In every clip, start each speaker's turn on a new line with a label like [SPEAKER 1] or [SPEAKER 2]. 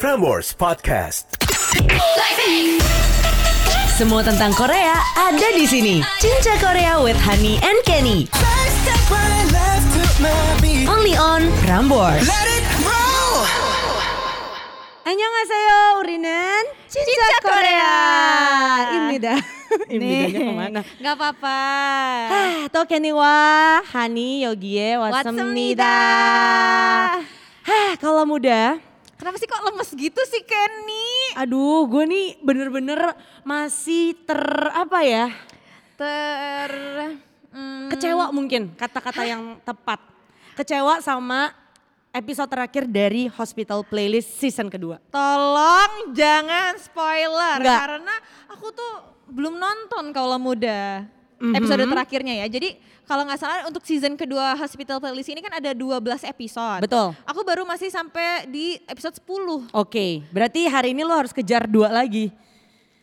[SPEAKER 1] Prambors Podcast.
[SPEAKER 2] Semua tentang Korea ada di sini. Cinca Korea with Honey and Kenny. Only on Prambors.
[SPEAKER 3] 안녕하세요. 우리는 진짜
[SPEAKER 2] 코레아.
[SPEAKER 3] 코레아입니다.
[SPEAKER 4] Ibidanya kemana?
[SPEAKER 3] Gak apa-apa.
[SPEAKER 2] 아, 또 케니와 하니 여기에 왔습니다. Hah, kalau muda,
[SPEAKER 3] Kenapa sih kok lemes gitu sih Kenny?
[SPEAKER 2] aduh gue nih bener-bener masih ter apa ya
[SPEAKER 3] Ter... Hmm,
[SPEAKER 2] kecewa mungkin kata-kata yang tepat kecewa sama episode terakhir dari Hospital Playlist season kedua.
[SPEAKER 3] Tolong jangan spoiler.
[SPEAKER 2] Nggak.
[SPEAKER 3] Karena aku tuh belum nonton kalau muda.
[SPEAKER 2] Mhm.
[SPEAKER 3] Episode terakhirnya ya. Jadi kalau nggak salah untuk season kedua Hospital Playlist ini kan ada 12 episode.
[SPEAKER 2] Betul.
[SPEAKER 3] Aku baru masih sampai di episode 10.
[SPEAKER 2] Oke, berarti hari ini lo harus kejar dua lagi.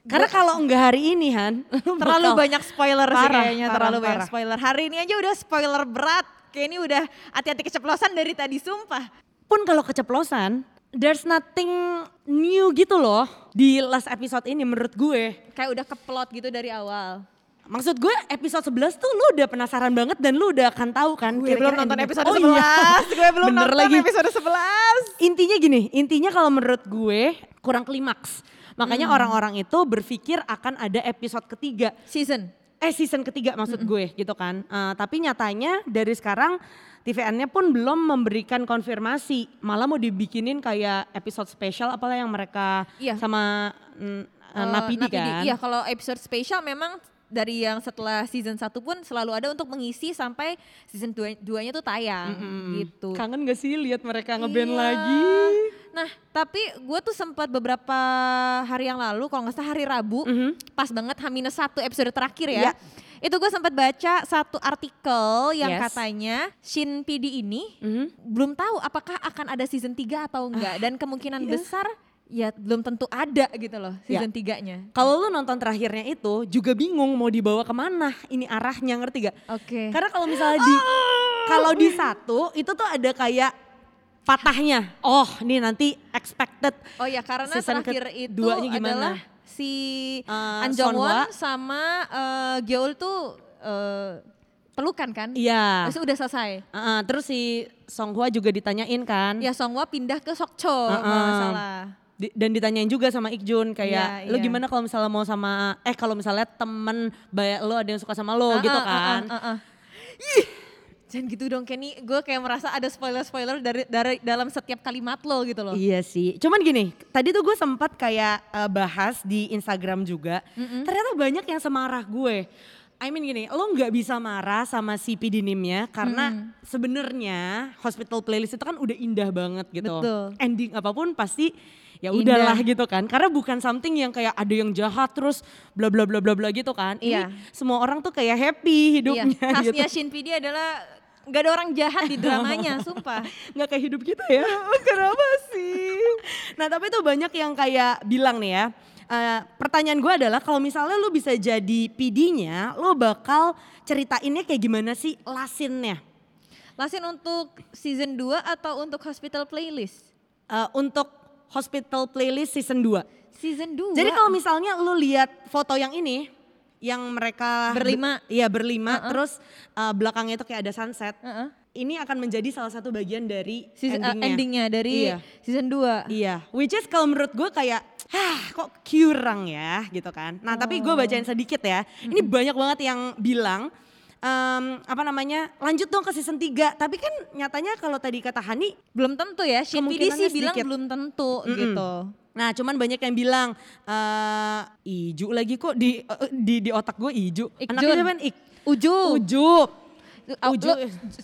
[SPEAKER 2] Karena kalau enggak hari ini Han, lo
[SPEAKER 3] Terlalu
[SPEAKER 2] bakal-
[SPEAKER 3] banyak spoiler sih
[SPEAKER 2] Parah,
[SPEAKER 3] kayaknya,
[SPEAKER 2] parah,
[SPEAKER 3] terlalu banyak
[SPEAKER 2] parah.
[SPEAKER 3] spoiler. Hari ini aja udah spoiler berat. Kayak ini udah hati-hati keceplosan dari tadi, sumpah.
[SPEAKER 2] pun kalau keceplosan, there's nothing new gitu loh di last episode ini menurut gue.
[SPEAKER 3] Kayak udah keplot gitu dari awal.
[SPEAKER 2] Maksud gue episode 11 tuh lu udah penasaran banget dan lu udah akan tahu kan.
[SPEAKER 3] Gue
[SPEAKER 2] kira-kira
[SPEAKER 3] belum nonton
[SPEAKER 2] endingnya.
[SPEAKER 3] episode
[SPEAKER 2] Oh
[SPEAKER 3] 11.
[SPEAKER 2] iya.
[SPEAKER 3] Gue belum
[SPEAKER 2] Bener
[SPEAKER 3] nonton
[SPEAKER 2] lagi.
[SPEAKER 3] episode 11.
[SPEAKER 2] Intinya gini, intinya kalau menurut gue kurang klimaks.
[SPEAKER 3] Hmm.
[SPEAKER 2] Makanya orang-orang itu berpikir akan ada episode ketiga.
[SPEAKER 3] Season.
[SPEAKER 2] eh season ketiga maksud
[SPEAKER 3] Hmm.
[SPEAKER 2] gue gitu kan. Eh, tapi nyatanya dari sekarang TVN-nya pun belum memberikan konfirmasi. Malah mau dibikinin kayak episode spesial apalah yang mereka
[SPEAKER 3] Iya.
[SPEAKER 2] sama mm, eh,
[SPEAKER 3] Eh,
[SPEAKER 2] Napidi, kan.
[SPEAKER 3] Iya, kalau episode spesial memang dari yang setelah season 1 pun selalu ada untuk mengisi sampai season 2-nya tuh tayang gitu.
[SPEAKER 2] Kangen gak sih lihat mereka ngeband
[SPEAKER 3] Iya.
[SPEAKER 2] lagi?
[SPEAKER 3] Nah, tapi gue tuh sempat beberapa hari yang lalu, kalau nggak salah hari Rabu, pas banget H-1 episode terakhir ya.
[SPEAKER 2] Mm-hmm. Iya.
[SPEAKER 3] Itu gue sempat baca satu artikel yang
[SPEAKER 2] Yes.
[SPEAKER 3] katanya Shin PD ini
[SPEAKER 2] Mhm.
[SPEAKER 3] belum tahu apakah akan ada season 3 atau
[SPEAKER 2] Ah,
[SPEAKER 3] enggak. Dan kemungkinan besar ya belum tentu ada gitu loh
[SPEAKER 2] Iya.
[SPEAKER 3] season 3-nya.
[SPEAKER 2] Kalau lu nonton terakhirnya itu juga bingung mau dibawa kemana ini arahnya ngerti gak?
[SPEAKER 3] Oke.
[SPEAKER 2] Karena kalau misalnya di kalau di satu itu tuh ada kayak patahnya. Oh, ini nanti expected.
[SPEAKER 3] Oh ya karena
[SPEAKER 2] Season
[SPEAKER 3] terakhir itu
[SPEAKER 2] keduanya gimana?
[SPEAKER 3] adalah si
[SPEAKER 2] Eh,
[SPEAKER 3] An Jong Won
[SPEAKER 2] Sonhwa.
[SPEAKER 3] sama eh, Geol tuh eh, pelukan kan?
[SPEAKER 2] Iya.
[SPEAKER 3] Terus udah selesai.
[SPEAKER 2] Heeh, terus si Songhua juga ditanyain kan.
[SPEAKER 3] Ya Songhwa pindah ke Sokcho kalau
[SPEAKER 2] Heeh.
[SPEAKER 3] nggak salah.
[SPEAKER 2] Di- dan ditanyain juga sama Ikjun kayak
[SPEAKER 3] Iya,
[SPEAKER 2] lu
[SPEAKER 3] iya.
[SPEAKER 2] gimana kalau misalnya mau sama eh kalau misalnya temen bayar lo ada yang suka sama lo gitu
[SPEAKER 3] Heeh,
[SPEAKER 2] kan.
[SPEAKER 3] heeh, heeh. Ih, Jangan gitu dong Kenny, gue kayak merasa ada spoiler-spoiler dari, dari dalam setiap kalimat lo gitu loh.
[SPEAKER 2] Iya sih. Cuman gini, tadi tuh gue sempat kayak eh, bahas di Instagram juga. Ternyata banyak yang semarah gue. I mean gini, lo nggak bisa marah sama si Pidinimnya karena sebenarnya hospital playlist itu kan udah indah banget gitu.
[SPEAKER 3] Betul.
[SPEAKER 2] Ending apapun pasti ya
[SPEAKER 3] Indah.
[SPEAKER 2] udahlah gitu kan. Karena bukan something yang kayak ada yang jahat terus bla bla bla bla bla gitu kan. Ini
[SPEAKER 3] Iya.
[SPEAKER 2] semua orang tuh kayak happy
[SPEAKER 3] Iya,
[SPEAKER 2] hidupnya gitu.
[SPEAKER 3] khasnya Shin PD adalah gak ada orang jahat di dramanya, sumpah.
[SPEAKER 2] nggak kayak hidup kita ya. Kenapa sih? nah tapi tuh banyak yang kayak bilang nih ya. eh, pertanyaan gue adalah kalau misalnya lu bisa jadi PD-nya, lu bakal ceritainnya kayak gimana sih lasinnya?
[SPEAKER 3] Lasin untuk season 2 atau untuk hospital playlist?
[SPEAKER 2] Eh, untuk Hospital Playlist Season 2.
[SPEAKER 3] Season 2.
[SPEAKER 2] Jadi kalau misalnya lu lihat foto yang ini, yang mereka
[SPEAKER 3] Berlima.
[SPEAKER 2] iya berlima, terus eh, belakangnya itu kayak ada sunset.
[SPEAKER 3] Heeh.
[SPEAKER 2] Ini akan menjadi salah satu bagian dari
[SPEAKER 3] season uh,
[SPEAKER 2] endingnya.
[SPEAKER 3] endingnya dari
[SPEAKER 2] Iya.
[SPEAKER 3] season 2.
[SPEAKER 2] Iya, which is kalau menurut gue kayak, hah kok kurang ya gitu kan. Nah tapi gue bacain sedikit ya, ini banyak banget yang bilang, em, apa namanya, lanjut dong ke season 3. Tapi kan nyatanya kalau tadi kata Hani,
[SPEAKER 3] Belum tentu ya, Shin PD
[SPEAKER 2] Kemungkinannya
[SPEAKER 3] sih bilang
[SPEAKER 2] sedikit.
[SPEAKER 3] belum tentu gitu.
[SPEAKER 2] nah cuman banyak yang bilang, eh Iju lagi kok di eh, di, di otak gue Iju.
[SPEAKER 3] Ikjun.
[SPEAKER 2] Anaknya siapa? Ik,
[SPEAKER 3] Uju,
[SPEAKER 2] Uju.
[SPEAKER 3] Ah,
[SPEAKER 2] Uju.
[SPEAKER 3] lu-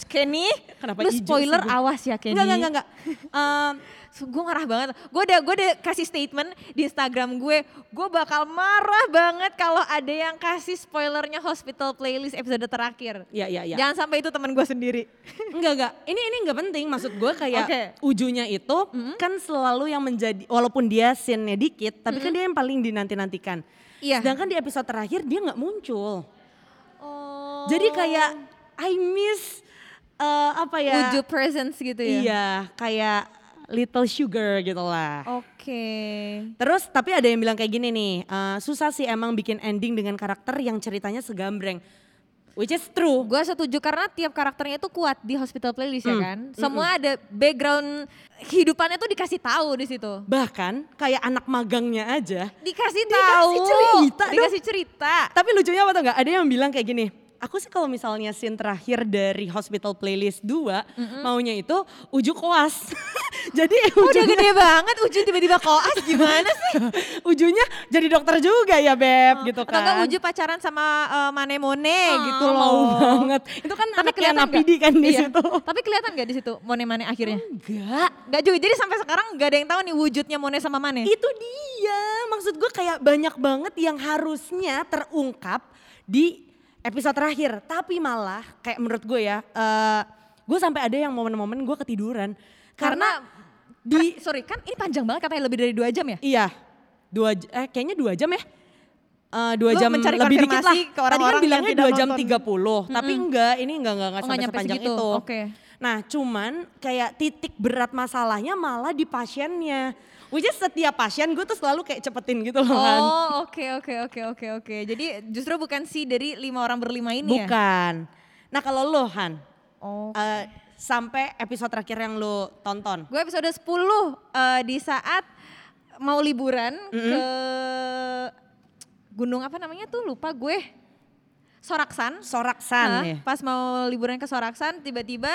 [SPEAKER 3] Kenny,
[SPEAKER 2] Kenapa
[SPEAKER 3] lu
[SPEAKER 2] Iju sih
[SPEAKER 3] spoiler
[SPEAKER 2] gue?
[SPEAKER 3] awas ya Kenny.
[SPEAKER 2] Enggak, enggak, enggak. enggak. Em,
[SPEAKER 3] Gue marah banget. Gue udah gue udah kasih statement di Instagram gue, gue bakal marah banget kalau ada yang kasih spoilernya Hospital Playlist episode terakhir.
[SPEAKER 2] ya, ya, ya.
[SPEAKER 3] Jangan sampai itu teman gue sendiri.
[SPEAKER 2] Enggak enggak, ini ini enggak penting maksud gue kayak
[SPEAKER 3] Oke. Mm-hmm.
[SPEAKER 2] ujunya itu kan selalu yang menjadi walaupun dia scene-nya dikit, tapi
[SPEAKER 3] Mm-hmm.
[SPEAKER 2] kan dia yang paling dinanti-nantikan.
[SPEAKER 3] Iya.
[SPEAKER 2] Sedangkan di episode terakhir dia nggak muncul.
[SPEAKER 3] Oh.
[SPEAKER 2] Jadi kayak I miss eh, apa ya?
[SPEAKER 3] Uju presence gitu ya.
[SPEAKER 2] Iya, kayak little sugar gitu lah.
[SPEAKER 3] Oke.
[SPEAKER 2] Terus tapi ada yang bilang kayak gini nih, eh, susah sih emang bikin ending dengan karakter yang ceritanya segambreng. Which is true.
[SPEAKER 3] Gue setuju karena tiap karakternya itu kuat di hospital playlist ya kan. Semua ada background hidupannya tuh dikasih tahu di situ.
[SPEAKER 2] Bahkan kayak anak magangnya aja.
[SPEAKER 3] Dikasih
[SPEAKER 2] Dikasih
[SPEAKER 3] tahu.
[SPEAKER 2] cerita dong.
[SPEAKER 3] Dikasih cerita.
[SPEAKER 2] Tapi lucunya apa tau gak? Ada yang bilang kayak gini, aku sih kalau misalnya scene terakhir dari Hospital Playlist 2, maunya itu ujuk koas. jadi
[SPEAKER 3] Oh, Udah
[SPEAKER 2] ujungnya,
[SPEAKER 3] gede banget Uju tiba-tiba koas gimana sih? Oh,
[SPEAKER 2] ujungnya jadi dokter juga ya Beb gitu
[SPEAKER 3] Atau enggak
[SPEAKER 2] kan.
[SPEAKER 3] Uju pacaran sama eh, Mane Mone
[SPEAKER 2] Ah,
[SPEAKER 3] gitu loh.
[SPEAKER 2] Mau banget. Itu kan
[SPEAKER 3] Tapi
[SPEAKER 2] anaknya
[SPEAKER 3] kelihatan
[SPEAKER 2] Napidi
[SPEAKER 3] nggak?
[SPEAKER 2] kan di
[SPEAKER 3] Iya.
[SPEAKER 2] situ.
[SPEAKER 3] Tapi kelihatan gak di situ Mone Mane akhirnya?
[SPEAKER 2] Enggak.
[SPEAKER 3] Enggak juga. Jadi sampai sekarang gak ada yang tahu nih wujudnya Mone sama Mane.
[SPEAKER 2] Itu dia. Maksud gue kayak banyak banget yang harusnya terungkap di episode terakhir. Tapi malah kayak menurut gue ya, eh, gue sampai ada yang momen-momen gue ketiduran. Karena, di,
[SPEAKER 3] sorry kan ini panjang banget katanya lebih dari dua jam ya?
[SPEAKER 2] iya, dua, j- eh, kayaknya dua jam ya. Eh, dua
[SPEAKER 3] Lu
[SPEAKER 2] jam
[SPEAKER 3] mencari
[SPEAKER 2] lebih dikit lah.
[SPEAKER 3] konfirmasi ke
[SPEAKER 2] Tadi
[SPEAKER 3] orang-orang
[SPEAKER 2] kan
[SPEAKER 3] yang
[SPEAKER 2] bilangnya
[SPEAKER 3] tidak
[SPEAKER 2] dua jam
[SPEAKER 3] nonton.
[SPEAKER 2] 30, tapi enggak, ini enggak enggak enggak
[SPEAKER 3] Oh, nggak
[SPEAKER 2] sampai
[SPEAKER 3] nyampe
[SPEAKER 2] sepanjang
[SPEAKER 3] segitu.
[SPEAKER 2] itu.
[SPEAKER 3] Oke.
[SPEAKER 2] Nah, cuman kayak titik berat masalahnya malah di pasiennya. Which is setiap pasien gue tuh selalu kayak cepetin gitu loh kan.
[SPEAKER 3] Oh oke oke oke oke oke. Jadi justru bukan si dari lima orang berlima ini ya?
[SPEAKER 2] Bukan. Nah kalau lo Han,
[SPEAKER 3] Oh.
[SPEAKER 2] eh, sampai episode terakhir yang lo tonton.
[SPEAKER 3] Gue episode 10 eh, di saat mau liburan ke gunung apa namanya tuh lupa gue. Soraksan.
[SPEAKER 2] Soraksan
[SPEAKER 3] Nah,
[SPEAKER 2] ya.
[SPEAKER 3] Pas mau liburan ke Soraksan tiba-tiba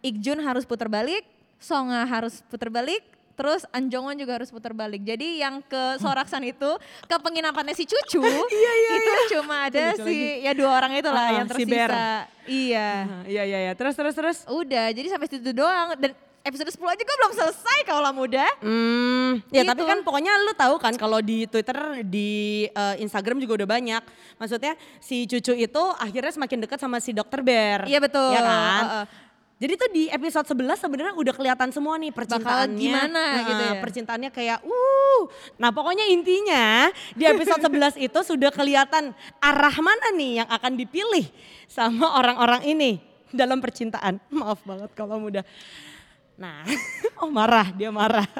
[SPEAKER 3] Ikjun harus putar balik, Songa harus putar balik, terus Anjongon juga harus putar balik. Jadi yang
[SPEAKER 2] Hmm.
[SPEAKER 3] ke Soraksan itu ke penginapannya si Cucu
[SPEAKER 2] Iya,
[SPEAKER 3] itu cuma ada
[SPEAKER 2] Lucu
[SPEAKER 3] si ya dua orang
[SPEAKER 2] Ah,
[SPEAKER 3] itulah yang
[SPEAKER 2] si Bear.
[SPEAKER 3] tersisa. Iya.
[SPEAKER 2] Ah, Iya iya iya. Terus terus terus.
[SPEAKER 3] Udah, jadi sampai situ doang dan episode 10 aja gue belum selesai kaulah muda.
[SPEAKER 2] Hmm, ya
[SPEAKER 3] Gitu.
[SPEAKER 2] tapi kan pokoknya lu tahu kan kalau di Twitter, di eh, Instagram juga udah banyak. Maksudnya si cucu itu akhirnya semakin dekat sama si dokter Bear.
[SPEAKER 3] Iya, betul.
[SPEAKER 2] Iya kan?
[SPEAKER 3] Heeh.
[SPEAKER 2] Jadi tuh di episode 11 sebenarnya udah kelihatan semua nih percintaannya.
[SPEAKER 3] gimana gitu ya?
[SPEAKER 2] Percintaannya kayak uh. Nah, pokoknya intinya di episode 11 itu sudah kelihatan arah mana nih yang akan dipilih sama orang-orang ini dalam percintaan. Maaf banget kalau mudah. Nah, oh marah, dia marah.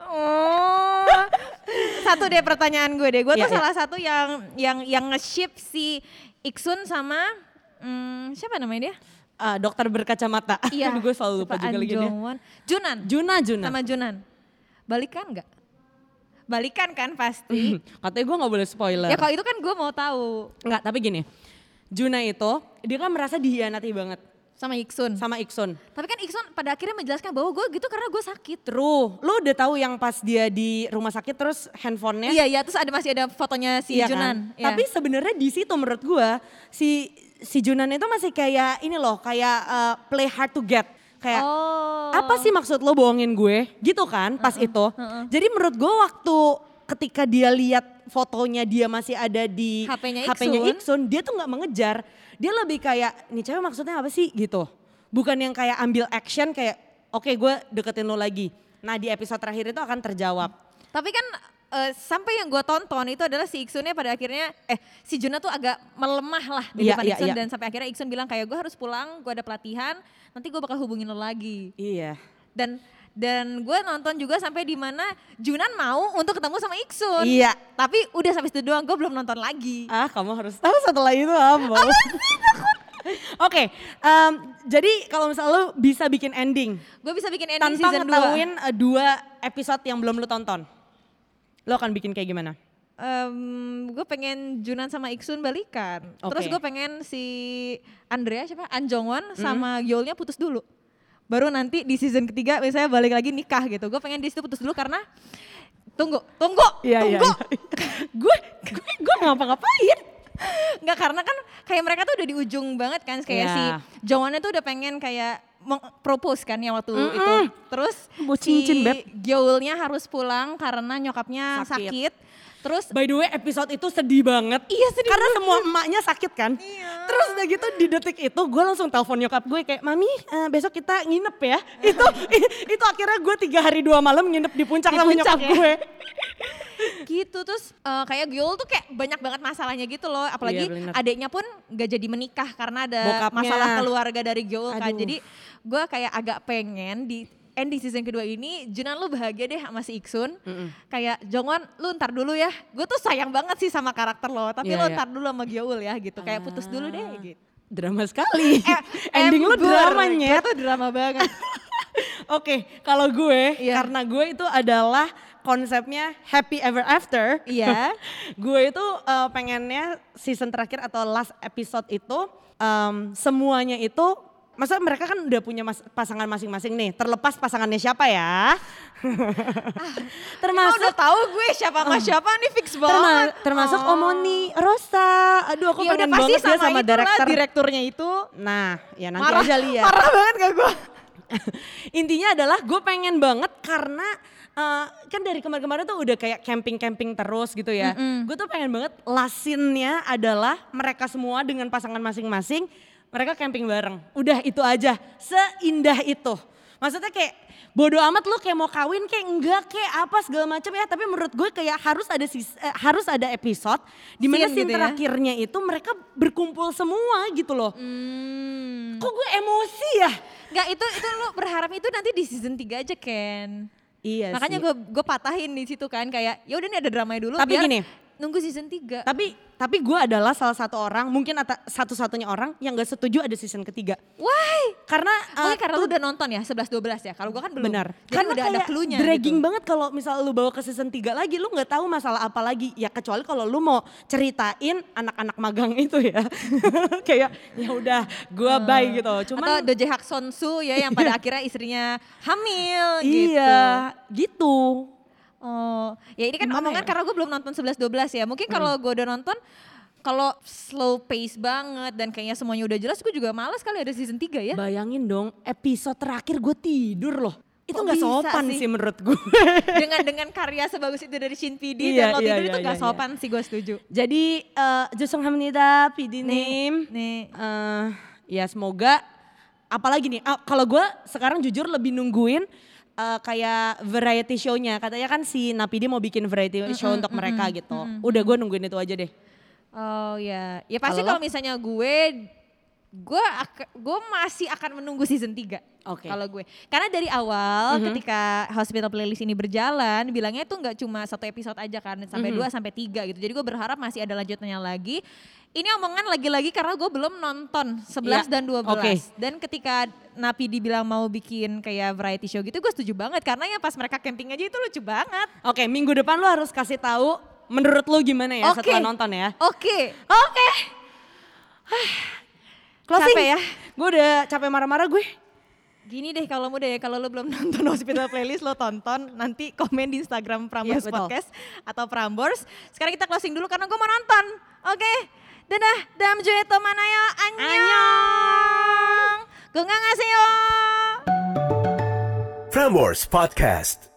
[SPEAKER 3] Oh. satu deh pertanyaan gue deh. Gue tuh
[SPEAKER 2] Iya, iya.
[SPEAKER 3] salah satu yang yang yang nge-ship si Iksun sama hmm, siapa namanya dia?
[SPEAKER 2] Ah, dokter berkacamata.
[SPEAKER 3] Iya.
[SPEAKER 2] Aduh, gue selalu lupa
[SPEAKER 3] siapa?
[SPEAKER 2] juga lagi dia.
[SPEAKER 3] Anjongwon. Junan.
[SPEAKER 2] Juna, Juna.
[SPEAKER 3] Sama Junan. Balikan nggak? Balikan kan pasti.
[SPEAKER 2] Katanya gue gak boleh spoiler.
[SPEAKER 3] ya kalau itu kan gue mau tahu
[SPEAKER 2] Enggak, tapi gini. Juna itu, dia kan merasa dihianati banget
[SPEAKER 3] sama Iksun.
[SPEAKER 2] sama Iksun.
[SPEAKER 3] Tapi kan Iksun pada akhirnya menjelaskan bahwa gue gitu karena gue sakit.
[SPEAKER 2] True, lu udah tahu yang pas dia di rumah sakit terus handphonenya
[SPEAKER 3] Iya iya terus ada masih ada fotonya si
[SPEAKER 2] Iya
[SPEAKER 3] Junan.
[SPEAKER 2] kan?
[SPEAKER 3] Iya.
[SPEAKER 2] Tapi sebenarnya di situ menurut gua si si Junan itu masih kayak ini loh, kayak eh, play hard to get. Kayak
[SPEAKER 3] oh.
[SPEAKER 2] apa sih maksud lo bohongin gue? Gitu kan pas itu. Jadi menurut gue waktu ketika dia lihat fotonya dia masih ada di
[SPEAKER 3] HP-nya Iksun.
[SPEAKER 2] Iksun, dia tuh nggak mengejar. Dia lebih kayak nih cewek maksudnya apa sih gitu. Bukan yang kayak ambil action kayak oke gue deketin lo lagi. Nah di episode terakhir itu akan terjawab.
[SPEAKER 3] Tapi kan eh, sampai yang gue tonton itu adalah si Iksunnya pada akhirnya eh si Juna tuh agak melemah lah di
[SPEAKER 2] Iya,
[SPEAKER 3] depan
[SPEAKER 2] iya,
[SPEAKER 3] Iksun
[SPEAKER 2] iya.
[SPEAKER 3] dan sampai akhirnya Iksun bilang kayak gue harus pulang, gue ada pelatihan, nanti gue bakal hubungin lo lagi.
[SPEAKER 2] Iya.
[SPEAKER 3] Dan dan gue nonton juga sampai di mana Junan mau untuk ketemu sama Iksun.
[SPEAKER 2] Iya.
[SPEAKER 3] Tapi udah sampai situ doang, gue belum nonton lagi.
[SPEAKER 2] Ah kamu harus tahu setelah itu apa. Oke, em, jadi kalau misalnya lo bisa bikin ending,
[SPEAKER 3] Gue bisa bikin ending
[SPEAKER 2] tanpa
[SPEAKER 3] season 2.
[SPEAKER 2] ngetahuin eh, dua episode yang belum lu tonton. Lo akan bikin kayak gimana?
[SPEAKER 3] gue pengen Junan sama Iksun balikan.
[SPEAKER 2] Oke.
[SPEAKER 3] Terus gue pengen si Andrea siapa?
[SPEAKER 2] Hmm.
[SPEAKER 3] Anjongwon sama Yolnya putus dulu. Baru nanti di season ketiga misalnya balik lagi nikah gitu. Gue pengen di situ putus dulu karena tunggu, tunggu,
[SPEAKER 2] Iya,
[SPEAKER 3] tunggu.
[SPEAKER 2] Gue gue gue ngapa-ngapain?
[SPEAKER 3] Enggak karena kan kayak mereka tuh udah di ujung banget kan kayak
[SPEAKER 2] Iya.
[SPEAKER 3] si Jongwonnya tuh udah pengen kayak meng- propose kan yang waktu itu. Terus
[SPEAKER 2] Mau cincin, Beb.
[SPEAKER 3] si Gyeolnya harus pulang karena nyokapnya
[SPEAKER 2] Sakit.
[SPEAKER 3] sakit. Terus
[SPEAKER 2] By the way, episode itu sedih banget.
[SPEAKER 3] Iya, sedih
[SPEAKER 2] Karena semua emaknya sakit kan. Iya. Terus udah gitu di detik itu gue langsung telepon nyokap gue kayak, Mami eh, besok kita nginep ya. itu itu akhirnya gue tiga hari dua malam nginep di puncak
[SPEAKER 3] Di
[SPEAKER 2] sama
[SPEAKER 3] puncak
[SPEAKER 2] nyokap
[SPEAKER 3] ya.
[SPEAKER 2] gue.
[SPEAKER 3] gitu terus eh, kayak Gyul tuh kayak banyak banget masalahnya gitu loh
[SPEAKER 2] Iya,
[SPEAKER 3] apalagi
[SPEAKER 2] bener.
[SPEAKER 3] adiknya pun gak jadi menikah karena ada
[SPEAKER 2] Bokapnya.
[SPEAKER 3] masalah keluarga dari Gyul kan
[SPEAKER 2] Aduh.
[SPEAKER 3] jadi gue kayak agak pengen di end di season kedua ini Junan lu bahagia deh sama si Iksun kayak Jongon lu ntar dulu ya gue tuh sayang banget sih sama karakter lo tapi
[SPEAKER 2] Iya,
[SPEAKER 3] lu
[SPEAKER 2] iya.
[SPEAKER 3] ntar dulu sama Gyul ya gitu kayak putus dulu deh gitu
[SPEAKER 2] Drama sekali.
[SPEAKER 3] Eh,
[SPEAKER 2] Ending lu
[SPEAKER 3] ember.
[SPEAKER 2] drama nyet.
[SPEAKER 3] Gua tuh drama banget
[SPEAKER 2] Oke, kalau gue
[SPEAKER 3] Iya.
[SPEAKER 2] karena gue itu adalah konsepnya happy ever after.
[SPEAKER 3] Iya.
[SPEAKER 2] gue itu eh, pengennya season terakhir atau last episode itu em, semuanya itu Maksudnya mereka kan udah punya mas- pasangan masing-masing nih, terlepas pasangannya siapa
[SPEAKER 3] Ah,
[SPEAKER 2] ya.
[SPEAKER 3] Emang
[SPEAKER 2] termasuk
[SPEAKER 3] udah tahu gue siapa sama siapa nih fix banget
[SPEAKER 2] Ah. terma- termasuk
[SPEAKER 3] Oh.
[SPEAKER 2] Omoni Rosa. Aduh aku
[SPEAKER 3] Iya udah
[SPEAKER 2] pengen
[SPEAKER 3] pasti
[SPEAKER 2] banget
[SPEAKER 3] sama,
[SPEAKER 2] dia sama
[SPEAKER 3] itulah,
[SPEAKER 2] director.
[SPEAKER 3] direkturnya itu
[SPEAKER 2] Nah, ya nanti
[SPEAKER 3] marah,
[SPEAKER 2] aja lihat.
[SPEAKER 3] Parah banget gak gue?
[SPEAKER 2] Intinya adalah gue pengen banget karena eh, kan dari kemarin-kemarin tuh udah kayak camping-camping terus gitu ya. Gue tuh pengen banget lasinnya adalah mereka semua dengan pasangan masing-masing mereka camping bareng. Udah itu aja, seindah itu. Maksudnya kayak bodo amat lu kayak mau kawin kayak enggak kayak apa segala macam ya tapi menurut gue kayak harus ada sis- eh, harus ada episode di mana
[SPEAKER 3] Scene
[SPEAKER 2] scene
[SPEAKER 3] gitu ya.
[SPEAKER 2] terakhirnya itu mereka berkumpul semua gitu loh.
[SPEAKER 3] Mm.
[SPEAKER 2] Kok gue emosi ya?
[SPEAKER 3] Gak itu itu lu berharap itu nanti di season 3 aja Ken.
[SPEAKER 2] Iya
[SPEAKER 3] Makanya gue gue patahin di situ kan kayak ya udah nih ada dramanya dulu
[SPEAKER 2] Tapi
[SPEAKER 3] biar
[SPEAKER 2] gini.
[SPEAKER 3] nunggu season 3.
[SPEAKER 2] Tapi tapi gue adalah salah satu orang mungkin ata- satu-satunya orang yang gak setuju ada season ketiga
[SPEAKER 3] Why?
[SPEAKER 2] karena
[SPEAKER 3] Oh
[SPEAKER 2] eh,
[SPEAKER 3] iya, karena
[SPEAKER 2] tuh
[SPEAKER 3] lu udah nonton ya 11 12 ya. Kalau gua kan belum.
[SPEAKER 2] benar
[SPEAKER 3] Jadi
[SPEAKER 2] karena
[SPEAKER 3] udah ada
[SPEAKER 2] kayak
[SPEAKER 3] clue-nya.
[SPEAKER 2] dragging
[SPEAKER 3] gitu.
[SPEAKER 2] banget kalau misal lu bawa ke season 3 lagi lu nggak tahu masalah apa lagi ya kecuali kalau lu mau ceritain anak-anak magang itu ya kayak ya udah gue bye gitu cuman
[SPEAKER 3] Eh, Atau Doje Hakson Su ya yang pada akhirnya istrinya hamil gitu.
[SPEAKER 2] iya gitu
[SPEAKER 3] Oh, ya ini kan
[SPEAKER 2] Gimana
[SPEAKER 3] omongan
[SPEAKER 2] ya? Hmm.
[SPEAKER 3] karena gue belum nonton 11-12 ya. Mungkin kalau gue udah nonton, kalau slow pace banget dan kayaknya semuanya udah jelas, gue juga males kali ada season 3 ya.
[SPEAKER 2] bayangin dong episode terakhir gue tidur loh itu
[SPEAKER 3] Kok
[SPEAKER 2] nggak
[SPEAKER 3] bisa
[SPEAKER 2] sopan
[SPEAKER 3] sih?
[SPEAKER 2] sih menurut gue
[SPEAKER 3] dengan dengan karya sebagus itu dari Shin PD
[SPEAKER 2] Iya,
[SPEAKER 3] dan lo
[SPEAKER 2] iya,
[SPEAKER 3] tidur
[SPEAKER 2] iya,
[SPEAKER 3] itu gak
[SPEAKER 2] iya,
[SPEAKER 3] sopan sih gue setuju.
[SPEAKER 2] Jadi eh Jusung Hamnida, Pidinim.
[SPEAKER 3] nih.
[SPEAKER 2] Eh, ya semoga apalagi nih ah, kalau gue sekarang jujur lebih nungguin eh, kayak variety show-nya. Katanya kan si Napidi mau bikin variety show untuk mereka gitu. Udah gue nungguin itu aja deh.
[SPEAKER 3] Oh ya, ya pasti
[SPEAKER 2] Kalau
[SPEAKER 3] kalau misalnya gue gue ak- gue masih akan menunggu season 3.
[SPEAKER 2] Oke. Mm-hmm.
[SPEAKER 3] Kalau gue. Karena dari awal ketika Hospital Playlist ini berjalan bilangnya itu nggak cuma satu episode aja kan
[SPEAKER 2] Mm-hmm.
[SPEAKER 3] sampai dua sampai tiga gitu. Jadi gue berharap masih ada lanjutannya lagi. Ini omongan lagi-lagi karena gue belum nonton 11
[SPEAKER 2] Ya,
[SPEAKER 3] dan 12.
[SPEAKER 2] oke.
[SPEAKER 3] Dan ketika Napi dibilang mau bikin kayak variety show gitu gue setuju banget karena ya pas mereka camping aja itu lucu banget.
[SPEAKER 2] Oke, minggu depan lo harus kasih tahu menurut lo gimana ya
[SPEAKER 3] Oke.
[SPEAKER 2] setelah nonton ya.
[SPEAKER 3] Oke. Oke.
[SPEAKER 2] Closing.
[SPEAKER 3] Capek ya.
[SPEAKER 2] Gue udah capek marah-marah gue.
[SPEAKER 3] Gini deh kalau muda ya, kalau lo belum nonton Hospital Playlist lo tonton, nanti komen di Instagram Prambors
[SPEAKER 2] Iya, betul.
[SPEAKER 3] Podcast atau Prambors. Sekarang kita closing dulu karena gue mau nonton. Oke. Dadah, damjueto manayo, annyeong. Gue ngasih yo.
[SPEAKER 1] Prambors Podcast.